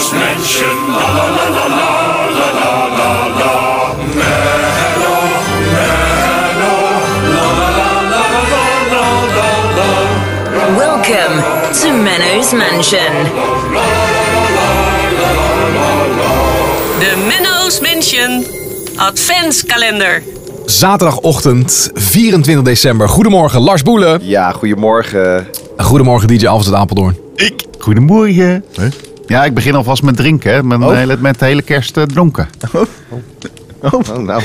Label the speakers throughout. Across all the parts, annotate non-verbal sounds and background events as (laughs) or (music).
Speaker 1: Station. La la la la la la la la la. Mello, mello. La la la la la la la la
Speaker 2: Welcome to Menno's Mansion.
Speaker 3: De Menno's Mansion Adventskalender.
Speaker 4: Zaterdagochtend 24 december. Goedemorgen Lars Boelen.
Speaker 5: Ja, goedemorgen.
Speaker 4: Goedemorgen DJ Alves uit Apeldoorn.
Speaker 6: Goedemorgen. Ja, ik begin alvast met drinken. Hè. Ik ben de hele, met de hele kerst eh, dronken.
Speaker 5: Oh, (laughs) nou.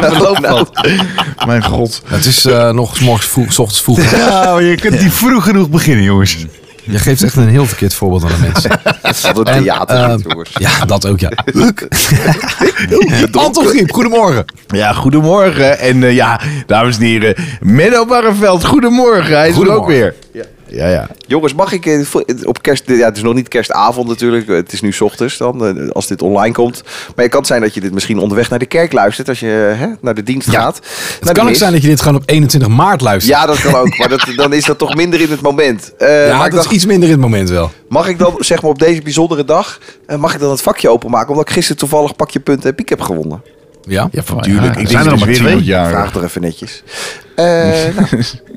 Speaker 5: dat loopt nou.
Speaker 6: Mijn god.
Speaker 4: Het is eh, nog 's morgens vroeg, 's ochtends vroeg.
Speaker 6: Ja, maar je kunt niet vroeg genoeg beginnen, jongens.
Speaker 4: (laughs) Je geeft echt een heel verkeerd voorbeeld aan de (laughs) mensen. eh,
Speaker 5: Wat een theater, dit, jongens.
Speaker 4: ehm, Ja, dat ook ja. (laughs) Anton Griep, goedemorgen.
Speaker 7: Ja, goedemorgen. En eh, ja, dames en heren, Menno Barreveld, goedemorgen. Hij is er ook
Speaker 4: Goedemorgen.
Speaker 7: weer. Ja, ja.
Speaker 5: Jongens, mag ik eh, voor- op kerst... Ja, het is nog niet kerstavond natuurlijk. Het is nu 's ochtends dan, eh, als dit online komt. Maar het kan zijn dat je dit misschien onderweg naar de kerk luistert. Als je hè, naar de dienst gaat. Nou,
Speaker 4: Het kan ook zijn dat je dit gewoon op 21 maart luistert.
Speaker 5: Ja, dat kan ook. Maar dat, dan is dat toch minder in het moment. Eh,
Speaker 4: Ja,
Speaker 5: maar ik
Speaker 4: dat
Speaker 5: dacht,
Speaker 4: is iets minder in het moment wel.
Speaker 5: Mag ik dan, zeg maar op deze bijzondere dag... eh, mag ik dan het vakje openmaken? Omdat ik gisteren toevallig pakje punten en piek heb gewonnen.
Speaker 4: Ja? Ja,
Speaker 7: Tuurlijk, ik
Speaker 6: er
Speaker 7: denk
Speaker 6: zijn er
Speaker 7: dat
Speaker 6: maar
Speaker 7: Ah, er weer
Speaker 6: twee.
Speaker 7: iemand jarig.
Speaker 5: Vraag er even netjes. Eh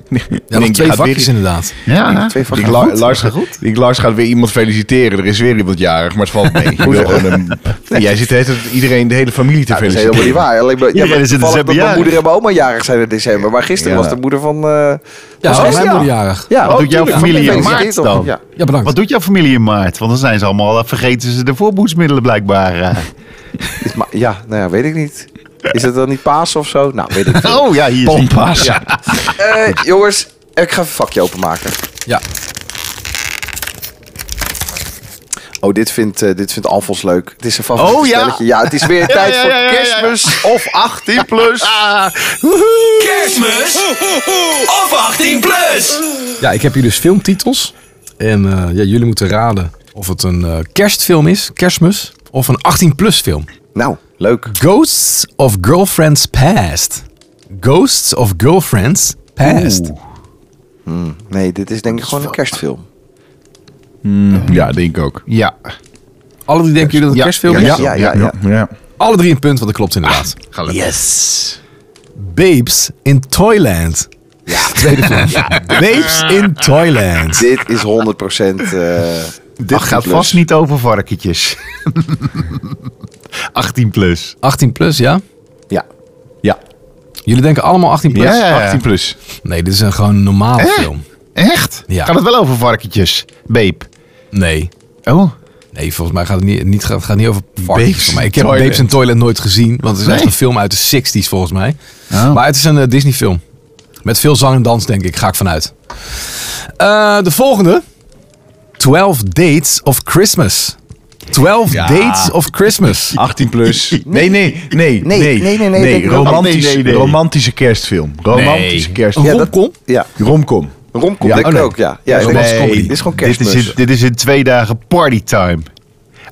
Speaker 4: nog
Speaker 7: denk, je
Speaker 4: twee
Speaker 7: gaat
Speaker 4: vakjes
Speaker 7: weer-
Speaker 4: inderdaad.
Speaker 6: Ja, hè?
Speaker 5: twee
Speaker 7: Ik,
Speaker 5: vakjes.
Speaker 7: la- Lars, ik denk, Lars gaat weer iemand feliciteren. Er is weer iemand jarig, maar het valt mee. Ik wil gewoon (laughs) een- jij zit de hele tijd iedereen, de hele familie te
Speaker 5: Ja, dat is
Speaker 7: feliciteren.
Speaker 5: helemaal niet waar. Alleen maar, ja,
Speaker 6: Ja,
Speaker 5: maar
Speaker 6: jij zit in
Speaker 5: toevallig dat mijn
Speaker 6: december
Speaker 5: moeder en mijn oma jarig zijn in december. Maar gisteren
Speaker 7: Ja.
Speaker 5: was de moeder van... eh
Speaker 4: Ja, mijn
Speaker 5: was gisteren.
Speaker 4: moeder jarig.
Speaker 5: Ja,
Speaker 6: Wat doet jouw
Speaker 5: tuurlijk.
Speaker 6: familie in
Speaker 5: Gefeliciteerd
Speaker 6: maart dan?
Speaker 5: op- Ja.
Speaker 4: Ja, bedankt.
Speaker 6: Wat doet jouw familie in maart? Want dan zijn ze allemaal, eh, vergeten ze de voorboedsmiddelen blijkbaar. eh.
Speaker 5: Is ma- ja, nou ja, weet ik niet. Is het dan niet paas of zo? Nou, weet ik niet.
Speaker 6: (laughs) Oh ja, hier. Pompas. Ja.
Speaker 5: Eh, jongens, ik ga even een vakje openmaken.
Speaker 4: Ja.
Speaker 5: Oh, dit vindt, eh, dit vindt Alfons leuk. Het is een favoriet
Speaker 6: Oh, ja.
Speaker 5: stelletje. Ja, het is
Speaker 6: (laughs)
Speaker 5: weer tijd
Speaker 6: ja,
Speaker 5: voor
Speaker 6: ja, ja, ja.
Speaker 5: kerstmis.
Speaker 6: Of 18 (laughs) plus.
Speaker 1: Kerstmis of 18 plus.
Speaker 4: Ja, ik heb hier dus filmtitels. En eh, ja, jullie moeten raden of het een eh, kerstfilm is, kerstmis, of een 18-plus film.
Speaker 5: Nou, leuk.
Speaker 4: Ghosts of Girlfriends Past. Ghosts of Girlfriends Past.
Speaker 5: Nee, dit is denk ik gewoon een kerstfilm.
Speaker 7: Ja, denk ik ook.
Speaker 6: Ja.
Speaker 4: Alle drie denken jullie dat het een kerstfilm is?
Speaker 5: ja, ja, ja.
Speaker 4: Alle drie een punt, want dat klopt inderdaad.
Speaker 6: Gelukkig.
Speaker 4: Yes. Babes in Toyland. Ja. (laughs) Tweede film. Babes in Toyland.
Speaker 5: Dit is 100%. eh
Speaker 6: Dit
Speaker 5: 18
Speaker 6: gaat
Speaker 5: plus.
Speaker 6: vast niet over varkentjes. 18 plus.
Speaker 4: 18 plus, ja?
Speaker 5: Ja.
Speaker 7: Ja,
Speaker 4: Jullie denken allemaal 18 plus?
Speaker 6: Ja, ja, ja.
Speaker 7: 18 plus.
Speaker 4: Nee, dit is een gewoon normaal
Speaker 6: Hè?
Speaker 4: film.
Speaker 6: Echt?
Speaker 4: Ja.
Speaker 6: Gaat het wel over varkentjes? Beep.
Speaker 4: Nee.
Speaker 6: Oh.
Speaker 4: Nee, volgens mij gaat het niet, niet, gaat, gaat niet over varkens.
Speaker 7: Babes
Speaker 4: Maar ik
Speaker 7: in
Speaker 4: heb
Speaker 7: Toyland.
Speaker 4: Babes in Toyland nooit gezien. Want het is echt
Speaker 6: Nee.
Speaker 4: een film uit de 60s volgens mij.
Speaker 6: Oh.
Speaker 4: Maar het is een eh, Disney film. Met veel zang en dans denk ik. Ga ik vanuit. Eh, de volgende. 12 Dates of Christmas. 12 Dates of
Speaker 7: (laughs)
Speaker 4: Christmas.
Speaker 7: 18 plus. Nee, nee, nee, nee.
Speaker 5: nee, nee, nee, denk ik ook.
Speaker 7: romantisch,
Speaker 6: Nee, nee, nee.
Speaker 7: romantische kerstfilm. Romantische kerstfilm.
Speaker 4: Een
Speaker 5: dat-
Speaker 4: romcom?
Speaker 5: Ja.
Speaker 7: Romcom.
Speaker 5: Romcom,
Speaker 7: Ja,
Speaker 5: denk
Speaker 7: oh,
Speaker 5: ik
Speaker 7: nee.
Speaker 5: ook. Ja, ja ik denk-
Speaker 4: romantische comedy.
Speaker 5: Dit is gewoon
Speaker 6: Dit
Speaker 5: kerstmis.
Speaker 6: is, in, dit is in twee dagen partytime.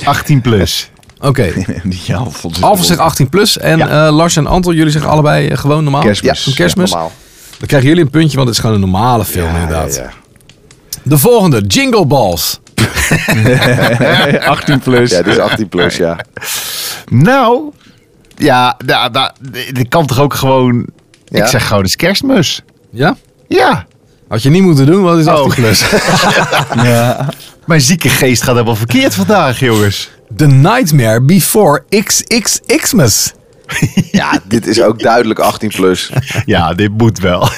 Speaker 6: 18 plus.
Speaker 4: Oké.
Speaker 7: (laughs) Ja, Alfons is
Speaker 4: Alvast
Speaker 7: er
Speaker 4: zegt 18 plus. En
Speaker 7: Ja.
Speaker 4: eh, Lars en Anton, jullie zeggen allebei eh, gewoon normaal.
Speaker 7: Kerstmis.
Speaker 4: Ja, een kerstmis.
Speaker 5: Ja, normaal.
Speaker 4: Dan krijgen jullie een puntje, want het is gewoon een normale film inderdaad. De volgende. Jingle Balls.
Speaker 7: op. 18 plus.
Speaker 5: Ja, dit is 18 plus, (laughs) ja.
Speaker 6: Nou, ja, da, da, dit kan toch ook gewoon...
Speaker 5: Ja?
Speaker 6: Ik zeg gewoon, het is kerstmis.
Speaker 4: Ja?
Speaker 6: Ja.
Speaker 4: Had je niet moeten doen, want het is
Speaker 7: Oh.
Speaker 4: 18 plus. (laughs)
Speaker 6: Mijn zieke geest gaat helemaal verkeerd vandaag, jongens.
Speaker 4: The Nightmare Before XXXmas.
Speaker 5: (laughs) Ja, dit is ook duidelijk 18 plus. (laughs)
Speaker 6: Ja, dit moet wel.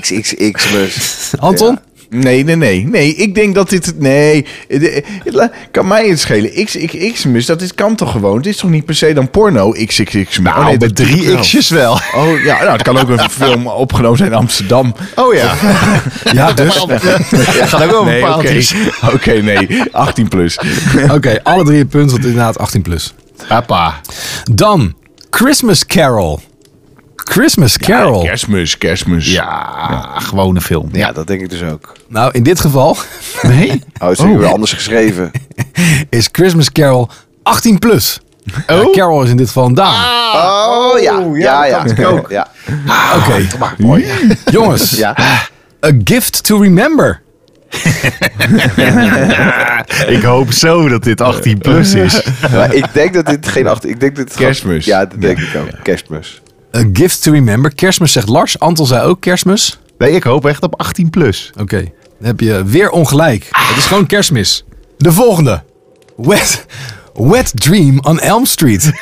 Speaker 5: XXX plus.
Speaker 4: Anton?
Speaker 7: Nee, nee, nee. Nee, ik denk dat dit... Nee, Eh, de- la- kan mij het schelen. XXXmus, dat is, kan toch gewoon? Het is toch niet per se dan porno XXX?
Speaker 6: Nou,
Speaker 7: Oh, nee,
Speaker 6: met
Speaker 7: dat-
Speaker 6: drie x'jes wel.
Speaker 7: Oh ja, nou, het kan ook een (laughs) film opgenomen zijn in Amsterdam.
Speaker 6: Oh (laughs) ja.
Speaker 7: Ja, dus...
Speaker 6: Ja, gaat ook over
Speaker 7: Nee, oké.
Speaker 6: paaltjes.
Speaker 7: (laughs) Oké, nee. 18 plus.
Speaker 4: Oké, alle drie een punt, want inderdaad 18 plus.
Speaker 6: Papa.
Speaker 4: Dan Christmas Carol. Christmas Carol.
Speaker 7: Kerstmis, kerstmis.
Speaker 6: Ja, gewone film.
Speaker 5: Ja, dat denk ik dus ook.
Speaker 4: nou, in dit geval
Speaker 6: Nee?
Speaker 5: Oh, het is weer anders geschreven.
Speaker 4: is Christmas Carol 18 plus. Ja,
Speaker 7: Oh.
Speaker 4: Carol is in dit geval een dame.
Speaker 7: Ah.
Speaker 5: Oh, ja. Ja, ja. Ja, (laughs) ja.
Speaker 4: Oké,
Speaker 5: Mooi.
Speaker 4: jongens.
Speaker 5: Ja.
Speaker 4: A Gift to Remember.
Speaker 6: Ik hoop zo dat dit 18
Speaker 5: (laughs)
Speaker 6: plus is.
Speaker 5: Maar ik denk dat dit geen achter... Ik denk dat het gewoon-
Speaker 7: Kerstmis.
Speaker 5: Ja, dat denk ik ook. Kerstmis.
Speaker 4: A gift to remember. Kerstmis zegt Lars. Anton zei ook kerstmis.
Speaker 6: Nee, ik hoop echt op 18 plus.
Speaker 4: Oké, dan heb je weer ongelijk. Het is gewoon kerstmis. De volgende. Wet, wet Dream on Elm Street.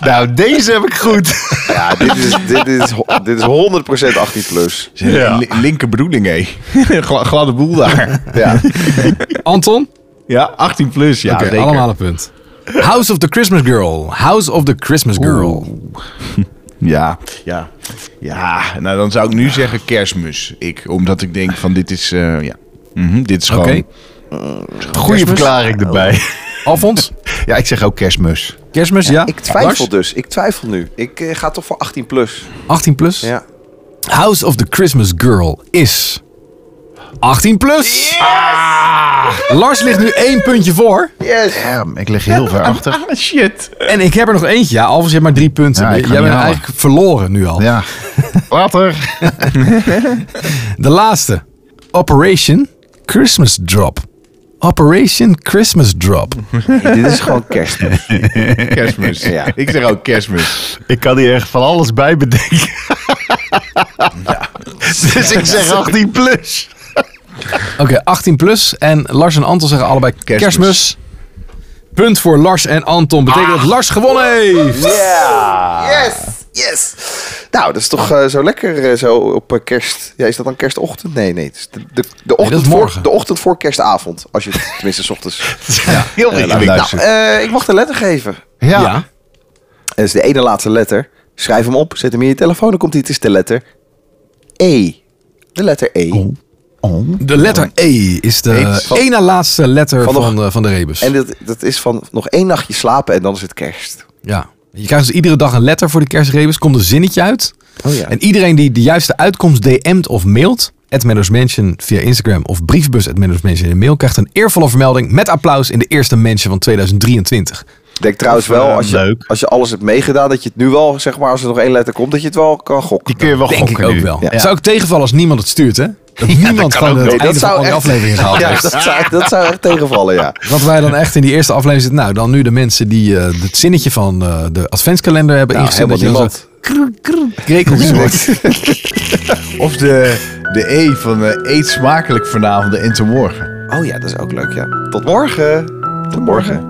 Speaker 6: Nou, deze heb ik goed. (laughs)
Speaker 5: Ja, dit is, (laughs) dit is, ho- dit is 100% 18 plus.
Speaker 6: Ja.
Speaker 7: Li- Linker
Speaker 6: (laughs)
Speaker 7: bedoeling, hé. Gla- Gladde boel daar.
Speaker 5: Ja.
Speaker 4: (laughs) Anton?
Speaker 7: Ja, 18 plus. Ja,
Speaker 4: Oké,
Speaker 7: zeker.
Speaker 4: allemaal een punt. House of the Christmas Girl. House of the Christmas Girl.
Speaker 7: Ja, ja. Ja, nou dan zou ik nu zeggen kerstmis. Ik, omdat ik denk van dit is, eh, ja. Mhm, dit is
Speaker 4: Oké.
Speaker 7: gewoon...
Speaker 6: Goede verklaring erbij.
Speaker 4: Alfons?
Speaker 6: Ja, ik zeg ook kerstmis.
Speaker 4: Kerstmis, ja?
Speaker 5: Ik twijfel
Speaker 4: Lars?
Speaker 5: dus. Ik twijfel nu. Ik eh, ga toch voor 18 plus.
Speaker 4: 18 plus?
Speaker 5: Ja.
Speaker 4: House of the Christmas Girl is 18 plus. Ah. Lars ligt nu één puntje voor.
Speaker 6: Ja, ik lig heel ver achter.
Speaker 7: Ah, shit.
Speaker 4: En ik heb er nog eentje. Ja, Alfons, je hebt maar drie punten.
Speaker 6: Ja, ik ga
Speaker 4: Jij
Speaker 6: niet
Speaker 4: bent
Speaker 6: halen.
Speaker 4: eigenlijk verloren nu al.
Speaker 6: Ja. Water.
Speaker 4: De laatste. Operation Christmas Drop. Operation Christmas Drop.
Speaker 5: Dit is gewoon kerstmis.
Speaker 7: Kerstmis.
Speaker 5: Ja.
Speaker 7: Ik zeg ook kerstmis.
Speaker 6: Ik kan hier echt van alles bij bedenken. (laughs) Dus ik zeg 18 plus.
Speaker 4: Oké, 18 plus. En Lars en Anton zeggen allebei kerstmis. Punt voor Lars en Anton. Betekent dat Lars gewonnen heeft.
Speaker 5: Yes! Yes! Nou, dat is toch eh, zo lekker eh, zo op eh, kerst... Ja, is dat dan kerstochtend? Nee, nee. Het is de, de, de, ochtend voor,
Speaker 4: morgen.
Speaker 5: de ochtend voor kerstavond. Als je het (laughs) tenminste 's ochtends...
Speaker 6: Heel Nou,
Speaker 5: Nou, eh, ik mag de letter geven.
Speaker 6: eh, Ja.
Speaker 4: Ja.
Speaker 5: Dat is de ene laatste letter. Schrijf hem op, zet hem in je telefoon. Dan komt hij. Het is de letter E. De letter E.
Speaker 6: Oh.
Speaker 4: De letter E is de
Speaker 5: Eens van-
Speaker 4: ene laatste letter
Speaker 5: Van
Speaker 4: van
Speaker 5: de-
Speaker 4: de, van de, rebus.
Speaker 5: En dat, dat is van nog één nachtje slapen en dan is het kerst.
Speaker 4: ja. Je krijgt dus iedere dag een letter voor de kerstrebus. Komt een zinnetje uit.
Speaker 5: Oh ja.
Speaker 4: En iedereen die de juiste uitkomst DM't of mailt... at Menno's Mansion via Instagram of briefbus at Menno's Mansion in de mail... krijgt een eervolle vermelding met applaus in de eerste Mansion van 2023.
Speaker 5: Ik denk trouwens wel,
Speaker 6: eh,
Speaker 5: als je,
Speaker 6: leuk.
Speaker 5: als je alles hebt meegedaan, dat je het nu wel, zeg maar, als er nog één letter komt, dat je het wel kan gokken.
Speaker 6: Die kun je wel
Speaker 4: Denk ik
Speaker 6: gokken
Speaker 4: ook
Speaker 6: nu.
Speaker 4: wel.
Speaker 6: Ja.
Speaker 4: Zou ik tegenvallen als niemand het stuurt, hè? Dat niemand
Speaker 6: kan
Speaker 4: van
Speaker 6: ook
Speaker 4: het
Speaker 6: nog.
Speaker 4: einde van al die afleveringen gehaald
Speaker 5: ja,
Speaker 4: heeft.
Speaker 5: dat, zou, dat zou echt tegenvallen, ja.
Speaker 4: Dat wij dan echt in die eerste aflevering zitten. Nou, dan nu de mensen die eh het zinnetje van eh, de adventskalender hebben
Speaker 5: Nou,
Speaker 4: ingezet. Dat je
Speaker 5: helemaal
Speaker 4: dan zo
Speaker 7: (laughs)
Speaker 4: krekeltjes hoort.
Speaker 7: Of de, de E van eh, eet smakelijk vanavond en te morgen.
Speaker 5: Oh ja, dat is ook leuk, ja. Tot morgen. Tot morgen.